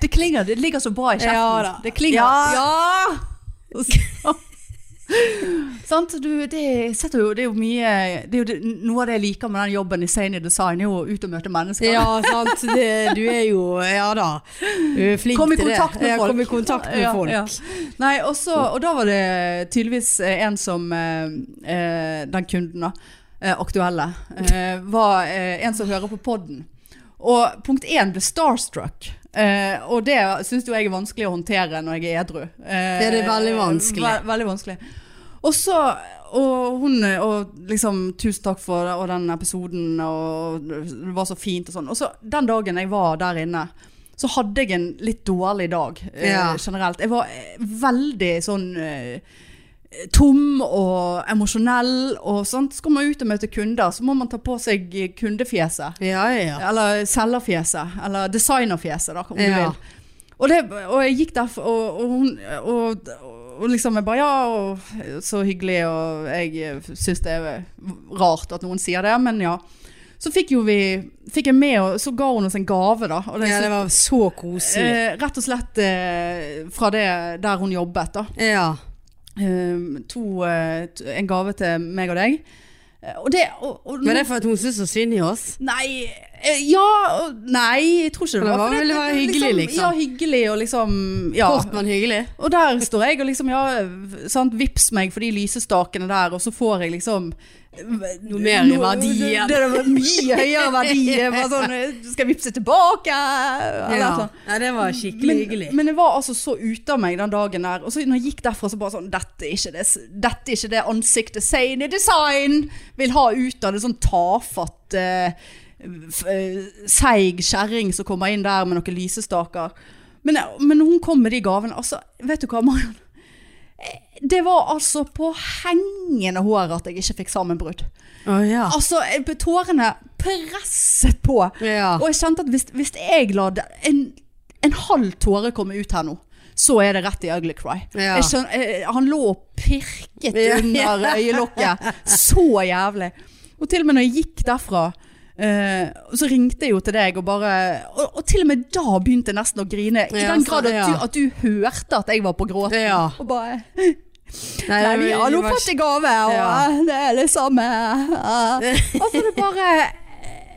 S1: Det klinger, det ligger så bra i kjeften.
S2: Ja da.
S1: Det klinger.
S2: Ja.
S1: Og så- <laughs> Sant? Du, det, setter jo, det er jo mye det er jo det, Noe av det jeg liker med den jobben i Sane Design, er jo å ut og møte mennesker.
S2: <laughs> Ja, sant. Det, du er jo Ja da. Du er flink
S1: Kom i
S2: til det.
S1: kontakt med
S2: Ja,
S1: folk.
S2: Kom i kontakt med
S1: Ja,
S2: folk. Mm.
S1: ja. Nei, og så- og da var det tydeligvis eh, en som eh, eh, Den kunden, da. Eh, aktuelle. Eh, var eh, en som hører på podden. Og punkt én ble starstruck. Eh, og det syns jo jeg er vanskelig å håndtere når jeg er edru. Eh,
S2: Det er det veldig vanskelig.
S1: Ve veldig vanskelig. Og så og hun eh, og liksom 'Tusen takk for det, og den episoden, og det var så fint', og sånn. Og så den dagen jeg var der inne, så hadde jeg en litt dårlig dag eh,
S2: Ja.
S1: generelt. Jeg var eh, veldig sånn eh, tom og emosjonell og sånt. Skal man ut og møte kunder, så må man ta på seg kundefjeset.
S2: Ja, ja.
S1: Eller selgerfjeset. Eller designerfjeset, da, om du
S2: Ja.
S1: vil. Og, det, og jeg gikk der, og, og hun og, og liksom jeg bare Ja, og, så hyggelig, og jeg syns det er rart at noen sier det, men ja. Så fikk jo vi Fikk jeg med, og så ga hun oss en gave, da. Og det,
S2: ja,
S1: synes-
S2: det var så koselig.
S1: eh, rett og slett eh, fra det der hun jobbet, da.
S2: Ja.
S1: Eh, to, eh, t- en gave til meg og deg. Eh, Og det og, og,
S2: Var det for at hun syntes så synd i oss?
S1: Nei eh, Ja og Nei, jeg tror ikke det
S2: Men det
S1: var
S2: var
S1: for
S2: vel
S1: det-
S2: være
S1: det-
S2: hyggelig, liksom.
S1: Ja, hyggelig og liksom ja.
S2: Kort, men hyggelig.
S1: Og der står jeg og liksom Ja, v- sant, vips meg for de lysestakene der, og så får jeg liksom
S2: Noe mer i verdien.
S1: Det, det var mye høyere verdi. Jeg Bare sånn
S2: <laughs>
S1: eh, Skal jeg vippse tilbake? Eller
S2: Ja.
S1: noe sånt.
S2: Nei, det var skikkelig hyggelig.
S1: Men, men jeg var altså så ute av meg den dagen der. Og så når jeg gikk derfra, så bare sånn Dette er ikke det, dette er ikke det ansiktet Sane Design vil ha ut av det. Sånn tafatt eh, f- eh, seig kjerring som kommer inn der med noen lysestaker. Men, men når hun kom med de gavene Altså, vet du hva, Marion? Eh, Det var altså på hengende håret at jeg ikke fikk sammenbrudd.
S2: Å ja.
S1: Altså, jeg- tårene presset på.
S2: ja.
S1: Og jeg kjente at hvis, hvis jeg la det- en, en halv tåre komme ut her nå, så er det rett i ugly cry.
S2: Ja.
S1: Jeg skjønner, eh, han lå og pirket
S2: Ja. <laughs>
S1: under øyelokket. Så jævlig. Og til og med når jeg gikk derfra, eh, så ringte jeg jo til deg og bare Og, og til og med da begynte jeg nesten å grine. I
S2: Ja,
S1: den
S2: så-
S1: grad at du,
S2: ja.
S1: at du hørte at jeg var på gråten.
S2: Ja.
S1: Og bare
S2: Nei,
S1: Nei, vi
S2: det
S1: har nå
S2: var-
S1: fått i gave, og
S2: Ja.
S1: eh, det er det <laughs> samme. eh. Og så er det bare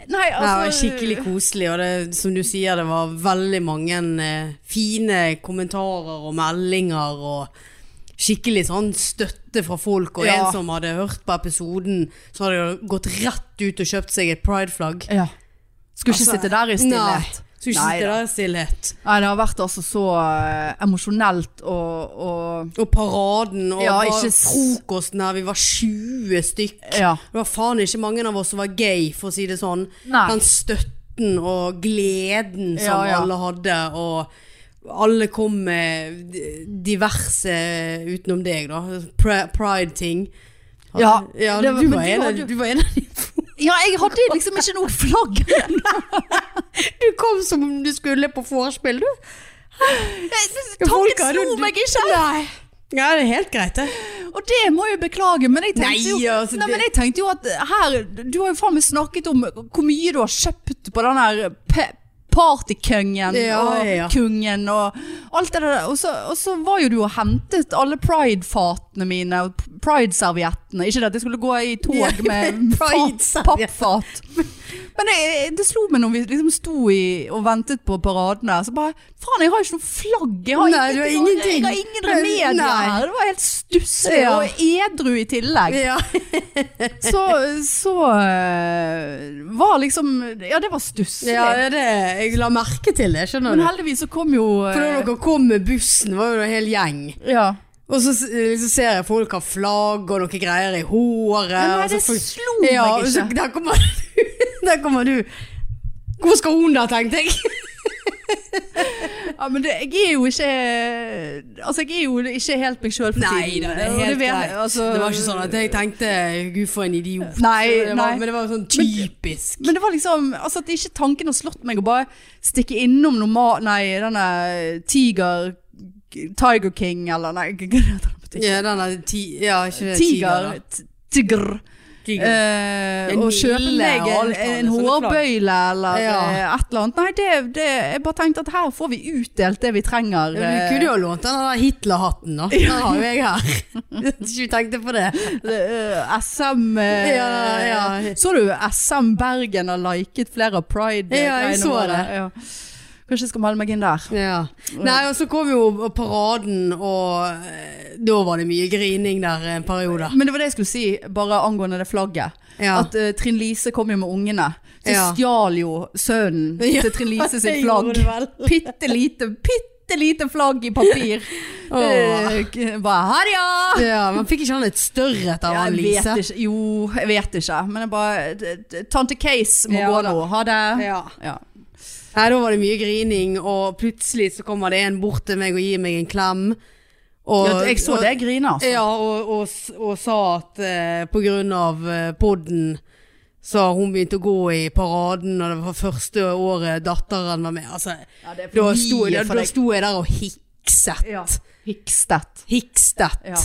S1: Nei, altså
S2: Nei, det var skikkelig koselig, og det, som du sier, det var veldig mange eh, fine kommentarer og meldinger og skikkelig sånn støtte fra folk, og
S1: Ja.
S2: en som hadde hørt på episoden, så hadde jo gått rett ut og kjøpt seg et prideflagg.
S1: Ja. Skulle ikke
S2: Altså,
S1: sitte der i stillhet.
S2: Nei, skulle ikke
S1: Nei
S2: sitte
S1: da.
S2: der i stillhet.
S1: Nei, det har vært altså så eh, emosjonelt og, og
S2: Og paraden, og
S1: Ja,
S2: bare
S1: ikke s-
S2: frokosten her, vi var 20 stykk.
S1: Ja.
S2: Det var faen ikke mange av oss som var gay, for å si det sånn.
S1: Nei.
S2: Den støtten og gleden som
S1: Ja, ja.
S2: alle hadde, og alle kom med d- diverse utenom deg, da. Pri- Pride-ting.
S1: Ja, det var-
S2: du,
S1: men
S2: var
S1: du
S2: en,
S1: hadde jo-
S2: av- du var en av de <laughs>
S1: ja, jeg hadde liksom ikke noe <laughs> flagg.
S2: Du kom som om du skulle på vorspiel, du. Folk
S1: Tanken
S2: hadde jo-
S1: slo meg ikke.
S2: Nei. Ja, det er helt greit, det.
S1: Og det må jeg beklage, men jeg tenkte jo,
S2: Nei, altså,
S1: nei,
S2: det-
S1: men jeg tenkte jo at her Du har jo faen meg snakket om hvor mye du har kjøpt på den her pe- partykøngen
S2: Ja,
S1: og
S2: ja, ja.
S1: kungen og alt det der. Og så, og så var jo du og hentet alle pride-fatene mine og pride-serviettene. Ikke det at jeg skulle gå i
S2: Ja, <laughs>
S1: tog med
S2: men
S1: fa-
S2: pride-serviett.
S1: pappfat. <laughs> Men det, det slo meg når vi liksom sto i og ventet på paradene. Så bare Faen, jeg har jo ikke noe flagg! Jeg har,
S2: Nei, du har ingenting.
S1: Jeg har ingen remedier
S2: Nei.
S1: her. Det var helt stusslig
S2: Ja.
S1: og edru i
S2: <laughs>
S1: tillegg.
S2: Ja.
S1: Så, så eh, var liksom Ja, det var stusslig.
S2: Ja, det er det. Jeg la merke til det, skjønner
S1: Men
S2: du.
S1: heldigvis så kom jo eh,
S2: For da dere kom med bussen, var jo det en hel gjeng.
S1: ja.
S2: Og så, s- så ser jeg folk har flagg og noen greier i håret.
S1: Men nei,
S2: og så
S1: det
S2: folk-
S1: slo meg
S2: altså, ja, altså, og
S1: ikke.
S2: Så, der, kommer <laughs> du, der kommer du. Hvor skal hun da, tenkte jeg.
S1: ja, men det, jeg er jo ikke Altså, jeg er jo ikke helt meg sjøl for tiden. og vet- altså-
S2: det var ikke sånn at jeg tenkte gud for en idiot.
S1: Nei,
S2: det var,
S1: nei.
S2: Men det var sånn typisk.
S1: Men det var liksom altså, at ikke tanken har slått meg å bare stikke innom normal... Nei, denne Tiger Tiger King, eller nei, hva heter den butikken?
S2: ja, den der ti, ja, ikke det,
S1: Eh, Tiger.
S2: tiger.
S1: t- Tigr.
S2: da. tiger.
S1: Eh,
S2: En
S1: og kjøpe
S2: hylle
S1: meg
S2: og
S1: en,
S2: alt annet,
S1: en
S2: sånne
S1: hårbøyle eller
S2: Ja.
S1: eh, et eller annet. Nei, det, det, jeg bare tenkte at her får vi utdelt det vi trenger.
S2: Ja, men du kunne jo ha lånt den der Hitler-hatten, da. Den har jo jeg her. <laughs> Ikke tenkte på det.
S1: eh, SM eh,
S2: Ja, ja.
S1: Så du SM Bergen har liket flere av Pride? eh,
S2: Ja, jeg
S1: greiene
S2: så
S1: våre?
S2: det.
S1: Ja. Kanskje jeg skal melde meg inn der.
S2: Ja. Nei, og så kom jo paraden, og eh, da var det mye grining der en periode.
S1: Men det var det jeg skulle si, bare angående det flagget.
S2: Ja.
S1: At eh, Trinn Lise kom jo med ungene. Så
S2: Ja.
S1: stjal jo sønnen
S2: <laughs> Ja,
S1: til Trinn <laughs> Lise
S2: det
S1: sitt flagg.
S2: gjorde du vel.
S1: Bitte lite, bitte lite flagg i papir.
S2: <laughs> Åh.
S1: Eh, k- bare ha det, ja!
S2: <laughs> Ja, men fikk ikke han et større etter han
S1: Jeg vet
S2: Lise?
S1: ikke. Jo, jeg vet ikke. Men jeg bare d- d- Tante Case må
S2: Ja,
S1: gå
S2: da.
S1: nå. Ha det.
S2: Ja.
S1: Ja.
S2: Nei, da var det mye grining, og plutselig så kommer det en bort til meg og gir meg en klem. Og,
S1: Ja, jeg så deg grine, altså.
S2: Ja, og, og, s- og sa at eh, på grunn av eh, podden så har hun begynt å gå i paraden, og det var første året datteren var med. Altså,
S1: Ja, det er for
S2: da,
S1: mye
S2: sto, da,
S1: for
S2: da
S1: deg.
S2: sto jeg der og hikset.
S1: Ja. Hikstedt.
S2: Hikstedt.
S1: Ja.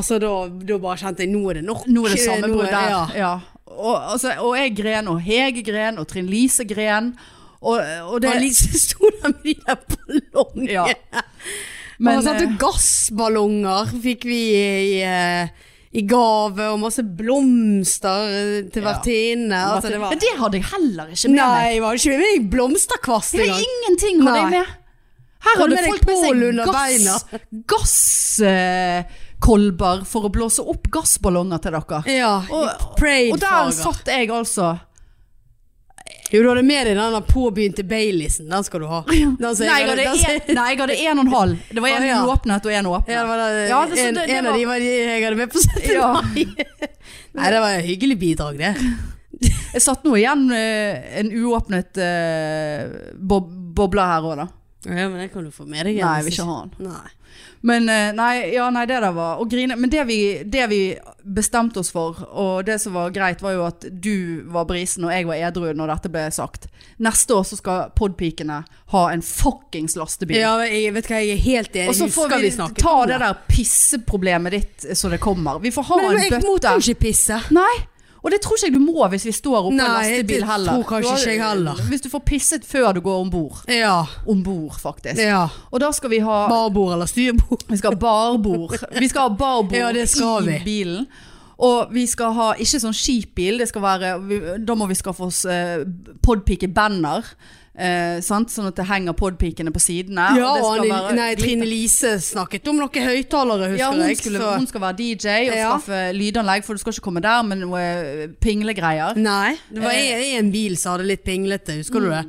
S2: Altså, da, da bare kjente jeg nå er det nok.
S1: Nå er det samme
S2: Nå er-
S1: bror der.
S2: Ja.
S1: Ja. Og, altså, og jeg gren, og Hege gren, og Trinn Lise gren. Og, og det
S2: Og Lise sto der med de der ballongene.
S1: Ja.
S2: Men,
S1: Men, eh,
S2: gassballonger fikk vi i, eh, i gave, og masse blomster eh, til
S1: Ja.
S2: vertinne.
S1: at-
S2: Altså, det var...
S1: Men det hadde jeg heller ikke med meg.
S2: Nei, var det ikke med deg blomsterkvast
S1: Det er
S2: engang?
S1: ingenting hadde jeg
S2: Nei.
S1: med. Her
S2: Hadde
S1: hadde
S2: med deg
S1: folk
S2: pål under
S1: med seg gasskolber for å blåse opp gassballonger til dere.
S2: Ja,
S1: Og- Og der
S2: Prade-farger.
S1: satt jeg altså.
S2: Jo, du hadde med deg den der påbegynte Baileysen. Den skal du ha. Den som
S1: Nei, jeg hadde
S2: den som-
S1: en, nei, jeg hadde en og en halv. Det var en
S2: Å, ja.
S1: uåpnet og en åpnet.
S2: Ja, det var det,
S1: Ja, det- så
S2: en,
S1: det- det
S2: en
S1: var-
S2: av de var de jeg hadde med på 17.
S1: Ja.
S2: <laughs> mai. Nei, det var et hyggelig bidrag, det.
S1: Jeg satt nå igjen med en uåpnet eh, bob boble her òg, da.
S2: Ja, men den kan du få med deg.
S1: Nei, jeg vil ikke ha den.
S2: Nei.
S1: Men eh, nei, ja, nei, det der var å grine. Men det vi, det vi bestemte oss for, og det som var greit, var jo at du var brisen og jeg var edru når dette ble sagt. Neste år så skal podpikene ha en fuckings lastebil.
S2: Ja, men jeg vet hva, jeg er helt enig.
S1: Og så får
S2: Husker
S1: vi,
S2: snakket
S1: ta
S2: om
S1: det der pisseproblemet ditt så det kommer. Vi får ha
S2: Men
S1: en
S2: jeg
S1: bøtte.
S2: måtte jo ikke pisse.
S1: Nei, og det tror ikke jeg du må hvis vi står oppe i en
S2: Nei,
S1: lastebil
S2: det
S1: heller.
S2: tror kanskje
S1: Du har-
S2: ikke jeg heller.
S1: Hvis du får pisset før du går om bord.
S2: Ja.
S1: Om bord, faktisk.
S2: ja.
S1: Og da skal vi ha
S2: Barbord eller styrbord.
S1: Vi skal ha barbord. Vi skal ha barbord
S2: Ja, det skal
S1: i
S2: vi.
S1: bilen. Og vi skal ha, ikke sånn skipbil, det skal være, vi, da må vi skaffe oss eh, podpike-banner. eh, sant? Sånn at det henger podpikene på sidene.
S2: Ja,
S1: det
S2: og
S1: skal
S2: Anne,
S1: være
S2: nei,
S1: glitter-
S2: Trine Lise snakket om noen høyttalere, husker
S1: ja, hun,
S2: jeg.
S1: skulle,
S2: så-
S1: hun skal være DJ og
S2: Ja.
S1: skaffe lydanlegg, for du skal ikke komme der med noe eh, pinglegreier.
S2: Nei, Eh. Mm. det var en, en bil som hadde litt pinglete, husker du det?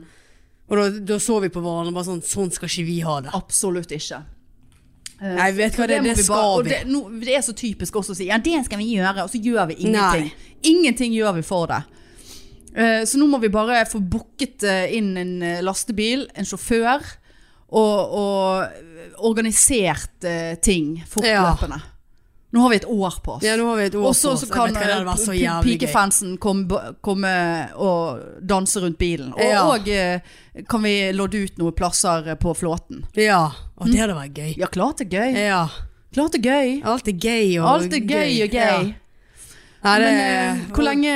S2: Og da, da så vi på hverandre og bare sånn, sånn skal ikke vi ha det.
S1: Absolutt ikke. Eh,
S2: Nei, vet du hva, det,
S1: må
S2: det
S1: vi bare-
S2: skal
S1: og
S2: vi.
S1: Det, nå- det er så typisk også å si ja, det skal vi gjøre, og så gjør vi ingenting. Ingenting gjør vi for det. Eh, Så nå må vi bare få booket eh, inn en eh, lastebil, en sjåfør, og, og organisert eh, ting fortløpende. Nå har vi et år på oss.
S2: Ja, nå har vi et ord
S1: og så,
S2: på oss.
S1: så
S2: Jeg
S1: kan
S2: vet hva, det hadde vært så
S1: eh, pi-
S2: jævlig gøy.
S1: pikefansen komme, komme og danse rundt bilen. Og,
S2: Ja.
S1: og eh, kan vi lodde ut noen plasser eh, på flåten.
S2: Ja, og det hadde vært gøy.
S1: Ja, klart det er gøy.
S2: Mm. Ja,
S1: Klart det er gøy.
S2: alt er gøy og
S1: Alt er gøy og
S2: Ja.
S1: gøy.
S2: Nei, det,
S1: Men eh, hvor lenge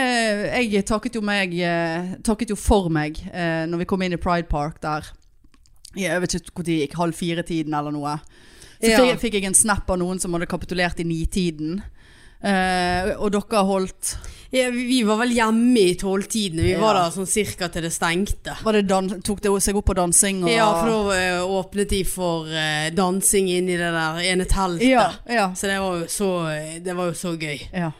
S1: Jeg takket jo, meg, eh, takket jo for meg eh, når vi kom inn i Pride Park der. Jeg vet ikke når det gikk, halv fire-tiden eller noe. Så
S2: Ja.
S1: fikk, fikk jeg en snap av noen som hadde kapitulert i nitiden. Eh, og dere holdt
S2: Ja, vi vi var vel hjemme i tolvtidene. Vi var
S1: Ja.
S2: der sånn cirka til det stengte.
S1: var det dan Tok det seg opp på dansing? Og,
S2: Ja, for da eh, åpnet de for eh, dansing inn i det der ene teltet.
S1: ja, ja,
S2: Så det var jo så, eh, det var jo så gøy.
S1: ja.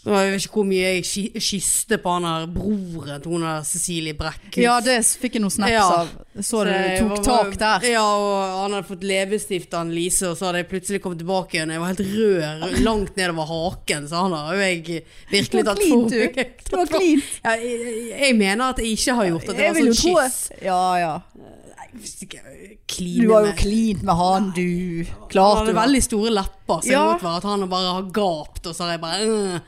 S2: Så jeg vet ikke hvor mye jeg ky- kysste på han der broren til hun der Cecilie Brekkhus.
S1: ja, det s- fikk jeg noen snaps
S2: Ja.
S1: av. Så du
S2: jeg
S1: tok
S2: var-
S1: tak der.
S2: Ja, og han hadde fått leppestift av Lise, og så hadde jeg plutselig kommet tilbake igjen. og Jeg var helt rød langt nedover haken, så han har jo jeg virkelig
S1: Det var
S2: tatt
S1: clean,
S2: for
S1: du.
S2: meg. <laughs>
S1: Det var clean.
S2: Ja, jeg, jeg mener at jeg ikke har gjort at det. var sånn kyss.
S1: Ja, ja.
S2: Kline
S1: Du har jo
S2: med-
S1: klint med han, du.
S2: Han
S1: Klart
S2: hadde
S1: du har.
S2: veldig store lepper, så det
S1: Ja.
S2: godt var at han bare har gapt, og så har jeg bare øh.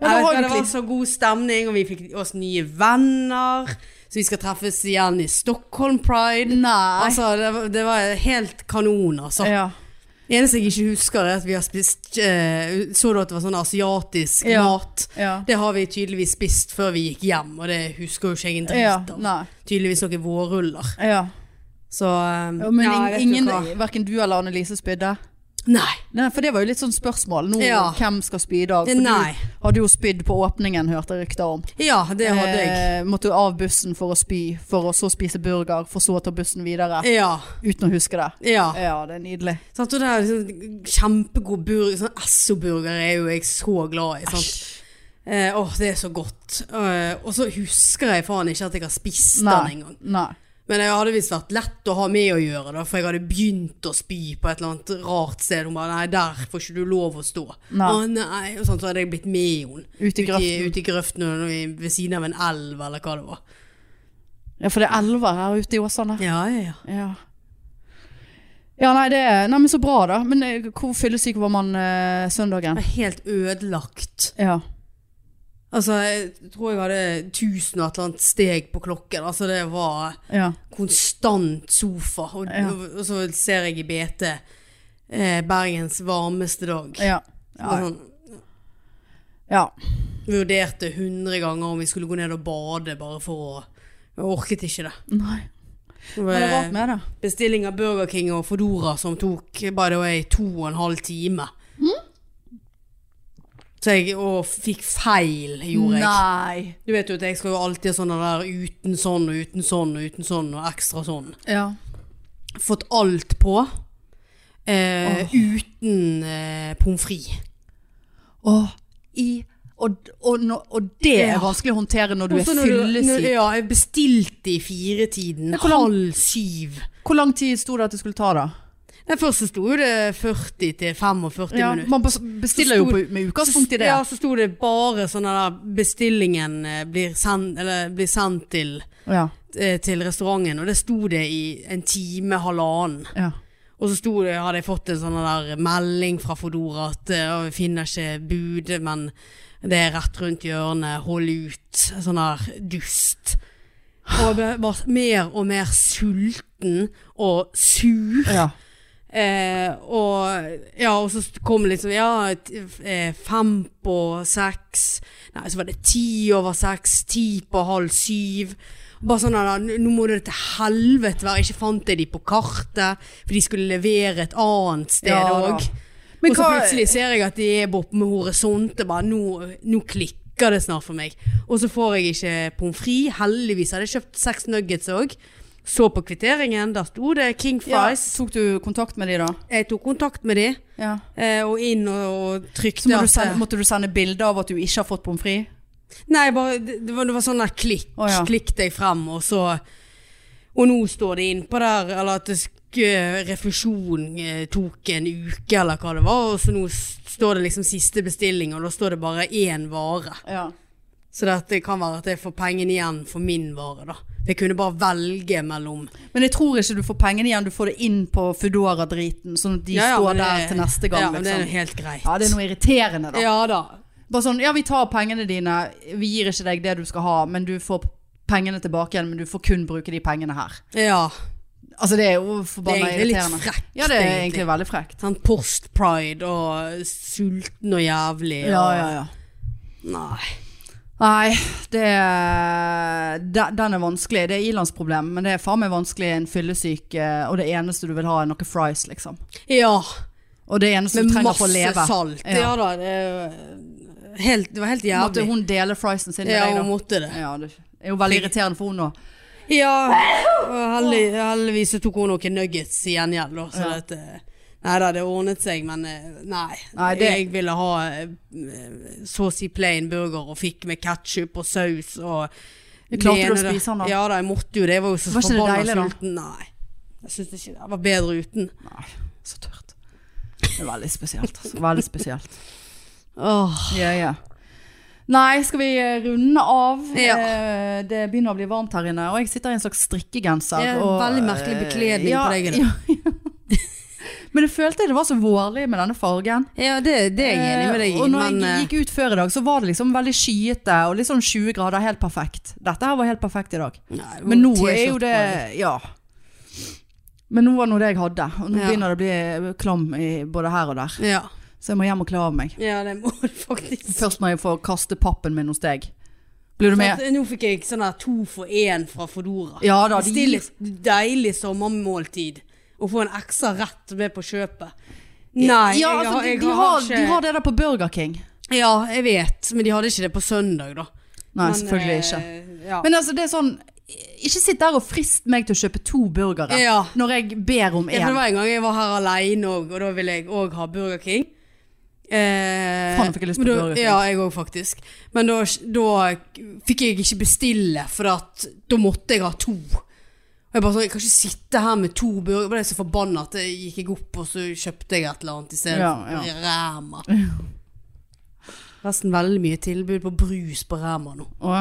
S1: Ja, da
S2: Jeg vet
S1: har
S2: hva,
S1: du
S2: Det var
S1: klipp.
S2: så god stemning, og vi fikk oss nye venner. Så vi skal treffes igjen i Stockholm Pride.
S1: Nei.
S2: Altså, det, var- det var helt kanon, altså.
S1: Ja.
S2: Eneste jeg ikke husker, er at vi har spist eh, Så du at det var sånn asiatisk
S1: Ja.
S2: mat?
S1: Ja.
S2: Det har vi tydeligvis spist før vi gikk hjem, og det husker jo ikke jeg en dritt
S1: Ja,
S2: av.
S1: nei.
S2: Tydeligvis noen vårruller.
S1: Ja.
S2: Så eh,
S1: Ja, men
S2: ja,
S1: ing-
S2: vet du
S1: ingen,
S2: hva.
S1: hverken du eller Annelise spydde?
S2: Nei.
S1: Nei, for det var jo litt sånn spørsmål nå,
S2: Ja.
S1: hvem skal spy i dag? For
S2: Nei.
S1: du hadde jo spydd på åpningen, hørte jeg rykter om.
S2: Ja, det hadde jeg.
S1: Eh, måtte jo av bussen for å spy, for å så spise burger, for så å ta bussen videre.
S2: Ja,
S1: Uten å huske det.
S2: ja.
S1: Ja, det er nydelig.
S2: Sant, og det er liksom kjempegod burger. Sånn Esso-burger er jo jeg så glad i. Sant? Eh, åh, det er så godt. Eh, og så husker jeg faen ikke at jeg har spist den
S1: Nei.
S2: engang.
S1: Nei.
S2: Men det hadde visst vært lett å ha med å gjøre, da, for jeg hadde begynt å spy på et eller annet rart sted. Hun bare 'Nei, der får ikke du lov å stå'.
S1: Nei.
S2: Å, nei. Og sånn, så hadde jeg blitt med henne.
S1: Ute i grøften.
S2: Ute i grøften og i- ved siden av en elv, eller hva det var.
S1: Ja, for det er elver her ute i Åsane.
S2: Ja, ja, ja.
S1: Ja. Ja, nei, det er Nei, men så bra, da. Men eh, hvor fyllesyk var man eh, søndagen?
S2: Jeg var helt ødelagt.
S1: Ja.
S2: Altså, jeg tror jeg hadde tusen og et eller annet steg på klokken. Altså, det var
S1: Ja.
S2: konstant sofa. Og,
S1: Ja.
S2: og så ser jeg i BT eh, Bergens varmeste dag.
S1: Ja.
S2: Og
S1: Ja.
S2: Sånn,
S1: ja.
S2: vurderte hundre ganger om vi skulle gå ned og bade, bare for å Jeg orket ikke det.
S1: Nei.
S2: Det
S1: Hva er det
S2: var
S1: rart med det?
S2: Bestilling av Burger King og Fodora som tok by the way to og en halv time.
S1: Hm?
S2: Så jeg, og fikk feil, gjorde jeg.
S1: Nei.
S2: Du vet jo at jeg skal jo alltid ha sånne der uten sånn og uten sånn og uten sånn og ekstra sånn.
S1: Ja.
S2: Fått alt på. Eh, Uten eh, pommes frites.
S1: Og, i, og, og, nå- og det
S2: Ja.
S1: er vanskelig å håndtere når du
S2: Og
S1: er
S2: så når du- når-
S1: fyllesyk.
S2: Ja, jeg bestilte i firetiden.
S1: hvor lang-
S2: Halv syv.
S1: Hvor lang tid sto det at det skulle ta, da?
S2: Nei, først så sto det 40 til 45 minutter.
S1: man bes- bestiller jo
S2: Så
S1: på,
S2: stor-
S1: med utgangspunkt i det.
S2: Ja, så sto det bare sånn der bestillingen eh, blir sendt, eller blir sendt til,
S1: Ja.
S2: eh, til restauranten, og det sto det i en time, halvannen.
S1: ja.
S2: Og så sto det, hadde jeg fått en sånn der melding fra Fodora at eh, «Å, vi finner ikke bud, men det er rett rundt hjørnet, hold ut. Sånn der dust. Og jeg ble bare mer og mer sulten og sur.
S1: ja.
S2: Eh, og, ja, og så kom det liksom ja, t- eh, fem på seks, nei, så var det ti over seks, ti på halv syv. Bare sånn at nå må det til helvete være, ikke fant jeg de på kartet, for de skulle levere et annet sted
S1: Ja da.
S2: òg.
S1: Men
S2: og så
S1: hva-
S2: plutselig ser jeg at de er borte med horisonte, bare nå, nå klikker klikker det snart for meg. Og så får jeg ikke pommes frites. Heldigvis hadde jeg kjøpt seks nuggets òg. Så på kvitteringen, der sto det King
S1: Ja,
S2: Fries.
S1: tok du kontakt med de da?
S2: Jeg tok kontakt med de,
S1: Ja.
S2: eh, og inn og, og
S1: Så må
S2: trykte
S1: du
S2: at- eh,
S1: sende, måtte du sende bilde av at du ikke har fått pommes frites?
S2: Nei, bare, det, det var, det var sånn der klikk.
S1: Å, ja.
S2: Klikk deg frem, og så Og nå står det innpå der, eller at det sk- eh, refusjon eh, tok en uke, eller hva det var. Og så nå s- står det liksom siste bestilling, og da står det bare én vare.
S1: Ja.
S2: Så det, at det kan være at jeg får pengene igjen for min vare, da. Jeg kunne bare velge mellom
S1: Men jeg tror ikke du får pengene igjen, du får det inn på Foodora-driten, sånn at de
S2: Ja, ja,
S1: står
S2: men
S1: der
S2: det-
S1: til neste gang.
S2: Ja, men det er jo
S1: liksom.
S2: helt greit.
S1: ja, det er noe irriterende, da.
S2: Ja da.
S1: Bare sånn, ja, vi tar pengene dine, vi gir ikke deg det du skal ha, men du får pengene tilbake igjen, men du får kun bruke de pengene her.
S2: Ja.
S1: Altså, det er jo
S2: Det er
S1: forbanna
S2: egentlig
S1: irriterende.
S2: litt frekt,
S1: ja, det er egentlig veldig frekt.
S2: Sånn post-pride og sulten og jævlig.
S1: Ja,
S2: og-
S1: ja, ja.
S2: Nei.
S1: Nei, det, de- den er vanskelig. Det er Ilans problem, men det er faen meg vanskelig en fyllesyk, eh, og det eneste du vil ha er noe fries, liksom.
S2: Ja.
S1: Og det eneste du
S2: Med
S1: trenger for å
S2: masse
S1: leve.
S2: salt. Ja,
S1: Ja.
S2: da. Det, er jo helt, det var helt jævlig.
S1: Måtte hun dele friesen sin med
S2: ja, hun
S1: deg, da?
S2: måtte det.
S1: Ja, det er jo veldig irriterende for hun nå.
S2: Ja, og heldig, heldigvis så tok hun noen nuggets i gjengjeld. da, Så
S1: Ja.
S2: at, eh, nei da, det ordnet seg, men eh, nei.
S1: Nei, det-
S2: Jeg ville ha eh, så å si plain burger og fikk med ketsjup og saus og
S1: Men klarte
S2: det
S1: du å
S2: ene der.
S1: spise den, da?
S2: Ja da, jeg måtte jo det. Jeg var jo så
S1: Var ikke det
S2: forbanna
S1: deilig, da?
S2: sulten. Nei. Jeg syns ikke det. Jeg var bedre uten.
S1: Nei, så tørt. Det er veldig spesielt, altså. Veldig spesielt.
S2: Åh.
S1: Ja, ja. Nei, skal vi eh, runde av?
S2: Ja.
S1: Eh, Det begynner å bli varmt her inne, og jeg sitter i en slags strikkegenser.
S2: Ja,
S1: og,
S2: veldig merkelig
S1: eh,
S2: bekledning på deg i dag.
S1: Ja, Men jeg følte det var så vårlig med denne fargen.
S2: Ja, det, det er jeg enig med deg
S1: Eh,
S2: i,
S1: Og når
S2: men eh,
S1: jeg gikk ut før i dag, så var det liksom veldig skyete og litt sånn 20 grader. Helt perfekt. Dette her var helt perfekt i dag.
S2: nei,
S1: Men nå
S2: T-skjorte
S1: er jo det
S2: bare.
S1: Ja. Men nå var nå det jeg hadde. Og nå
S2: Ja.
S1: begynner det å bli klam i både her og der.
S2: Ja.
S1: Så jeg må hjem og kle av meg.
S2: ja, det må du <laughs> faktisk.
S1: Først må jeg få kaste pappen min hos deg. Blir du med?
S2: Sånn, nå fikk jeg sånn her to for én fra Fodora.
S1: Ja da. De gir,
S2: Still et deilig sommermåltid. Å få en ekstra rett med på kjøpet. Nei,
S1: ja, altså, de, de, har, de har det der på Burger King.
S2: ikke Ja, jeg vet, men de hadde ikke det på søndag, da.
S1: Nei,
S2: Men,
S1: selvfølgelig
S2: eh,
S1: ikke.
S2: Ja.
S1: Men altså, det er sånn Ikke sitt der og frist meg til å kjøpe to burgere
S2: Ja.
S1: når jeg ber om
S2: Ja, for det
S1: én.
S2: var en gang jeg var her alene òg, og da ville jeg òg ha Burger King. Eh,
S1: Faen, jeg fikk lyst på
S2: men da,
S1: Burger King.
S2: Ja, jeg òg, faktisk. Men da, da fikk jeg ikke bestille, for at, da måtte jeg ha to. Og jeg bare sånn, jeg kan ikke sitte her med to burgere. Jeg ble så forbanna at jeg gikk jeg opp, og så kjøpte jeg et eller annet istedenfor
S1: Ja,
S2: ja, Ræma.
S1: <laughs>
S2: Forresten veldig mye tilbud på brus på Ræma nå.
S1: Å,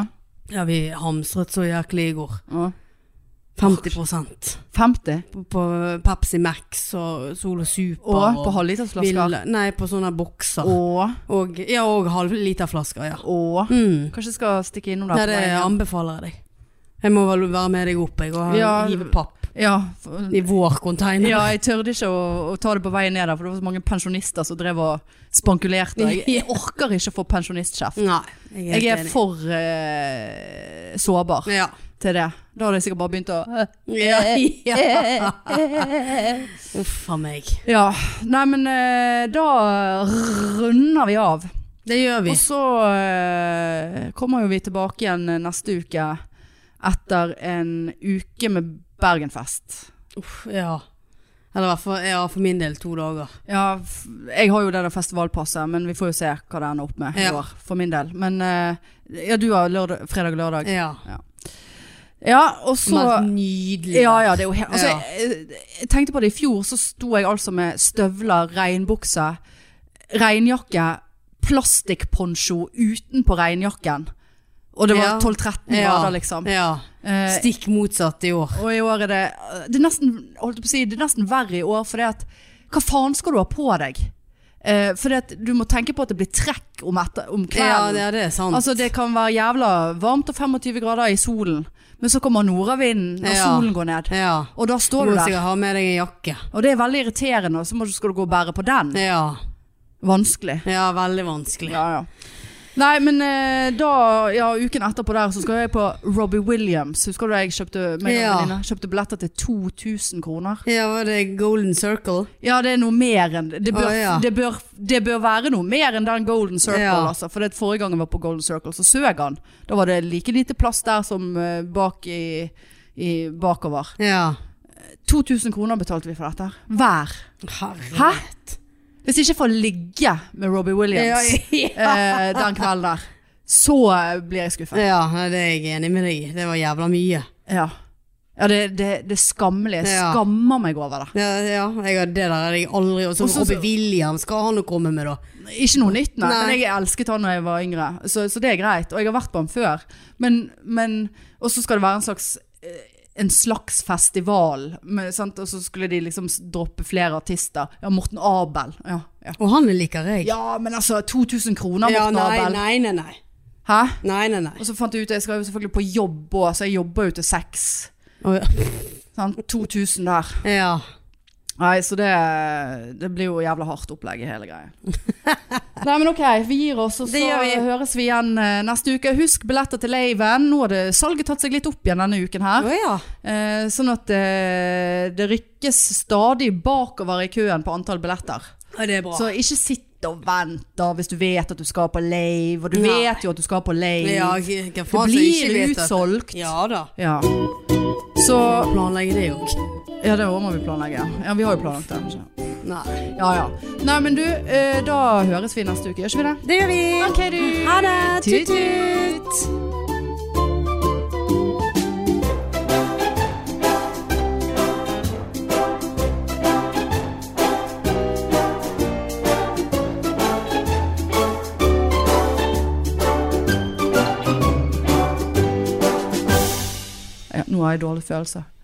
S2: Ja, vi hamstret så jæklig i går.
S1: å.
S2: 50
S1: 50?
S2: på, på Pepsi Max og Solo Super.
S1: Å,
S2: og
S1: på halvlitersflasker?
S2: Ville- Nei, på sånne bokser.
S1: Å,
S2: Og, ja, og halvliterflasker, ja.
S1: å.
S2: Mm.
S1: Kanskje jeg skal stikke innom der
S2: Nei, det
S1: veien.
S2: anbefaler jeg deg. Jeg må vel være med deg opp, jeg, og
S1: Ja.
S2: hive papp
S1: Ja, for,
S2: i vår container.
S1: ja, jeg tørde ikke å, å ta det på veien ned der, for det var så mange pensjonister som drev og spankulerte. og Jeg,
S2: <laughs>
S1: jeg orker ikke å få pensjonistkjeft.
S2: Nei, jeg er
S1: Jeg
S2: Mm, helt
S1: er
S2: enig.
S1: for eh, sårbar
S2: Ja.
S1: til det. Da hadde jeg sikkert bare begynt å
S2: Eh, <laughs> ja. Uff a meg.
S1: <laughs> Ja. Nei, men eh, da runder vi av.
S2: Det gjør vi.
S1: Og så eh, kommer jo vi tilbake igjen neste uke etter en uke med Bergenfest.
S2: Uff, ja. Eller i hvert fall ja, for min del to dager.
S1: Ja, f- jeg har jo det der festivalpasset, men vi får jo se hva det ender opp med i
S2: Ja.
S1: år, for min del. Men eh, ja, du har lørdag, fredag og lørdag.
S2: Ja.
S1: Ja, og så
S2: Men nydelig.
S1: ja, ja, det er jo helt altså,
S2: Ja.
S1: jeg, jeg tenkte på det i fjor, så sto jeg altså med støvler, regnbukse, regnjakke, plastikkponcho utenpå regnjakken. Og det var
S2: Ja.
S1: 12-13
S2: Ja.
S1: grader, liksom.
S2: ja.
S1: Eh,
S2: Stikk motsatt i år.
S1: og i år er det Det er nesten, holdt jeg på å si, det er nesten verre i år, for det at Hva faen skal du ha på deg? Eh, for det at du må tenke på at det blir trekk om, etter, om
S2: Ja,
S1: kvelden.
S2: det, det er sant.
S1: altså, det kan være jævla varmt og 25 grader i solen, men så kommer nordavinden, og
S2: Ja.
S1: solen går ned.
S2: ja.
S1: Og da
S2: Du
S1: står
S2: må
S1: du der.
S2: sikkert ha med deg en jakke.
S1: Og det er veldig irriterende, og så må du- skal du gå og bære på den.
S2: Ja,
S1: Vanskelig.
S2: ja veldig vanskelig.
S1: Ja, ja. Nei, men eh, da, ja, uken etterpå der, så skal jeg på Robbie Williams. Husker du jeg kjøpte, meg og
S2: Ja.
S1: venninna kjøpte billetter til 2000 kroner?
S2: Ja, var det Golden Circle?
S1: Ja, det er noe mer enn det. Bør,
S2: Å, ja.
S1: det, bør, det bør være noe mer enn den Golden Circle,
S2: Ja.
S1: altså. For det at forrige gang jeg var på Golden Circle, så søg han. Da var det like lite plass der som eh, bak i, i bakover.
S2: Ja.
S1: 2000 kroner betalte vi for dette. her. Hver.
S2: Herre.
S1: Hæ? Hvis ikke jeg får ligge med Robbie <laughs> Williams
S2: Ja,
S1: eh, den kvelden der, så eh, blir jeg skuffet.
S2: ja, nei, det er jeg enig med deg i. Det var jævla mye.
S1: Ja, ja det, det, det er skammelig. Jeg
S2: Ja.
S1: skammer meg over det.
S2: Ja, ja jeg har det der hadde jeg aldri Og så
S1: Og så-
S2: Robbie Williams, hva har han å komme med, da?
S1: Ikke noe nytt, nei.
S2: Nei.
S1: Men jeg elsket han da jeg var yngre, så, så det er greit. Og jeg har vært på han før. Men, men Og så skal det være en slags eh, en slags festival, men, sant? og så skulle de liksom s- droppe flere artister. Ja, Morten Abel. Ja, ja.
S2: Og han liker jeg.
S1: ja men altså, 2000 kroner,
S2: Ja,
S1: Morten
S2: nei,
S1: Abel.
S2: nei, nei, nei.
S1: Hæ?
S2: Nei, nei, nei.
S1: Og så fant jeg ut, jeg skal jo selvfølgelig på jobb også, så jeg jobber jo til seks.
S2: Og-
S1: Sant? 2000 der.
S2: Ja.
S1: Nei, så det, det blir jo jævla hardt opplegg i hele greia. <laughs> Nei, men ok, vi gir oss, og så
S2: Det gjør vi.
S1: høres vi igjen eh, neste uke. Husk billetter til Laven. Nå har det, salget tatt seg litt opp igjen denne uken her.
S2: Å ja.
S1: Eh, sånn at eh, det rykkes stadig bakover i køen på antall billetter.
S2: Ja, Det er bra.
S1: Så ikke sitt og vent da hvis du vet at du skal på Lave, og du
S2: Nei.
S1: vet jo at du skal på Lave.
S2: ja, hva faen
S1: det
S2: som ikke
S1: blir
S2: vet det?
S1: utsolgt.
S2: Ja da.
S1: Ja. Så
S2: Planlegge det òg.
S1: Ja, det må vi planlegge. Ja, vi har jo planlagt det. ikke sant?
S2: Nei.
S1: Ja, ja. Nei, men du, eh, da høres vi neste uke, gjør ikke vi det?
S2: Det gjør vi.
S1: Ok, du.
S2: Ha det.
S1: Tut,
S2: Tut-tut.
S1: Ja, nå har jeg dårlig følelse.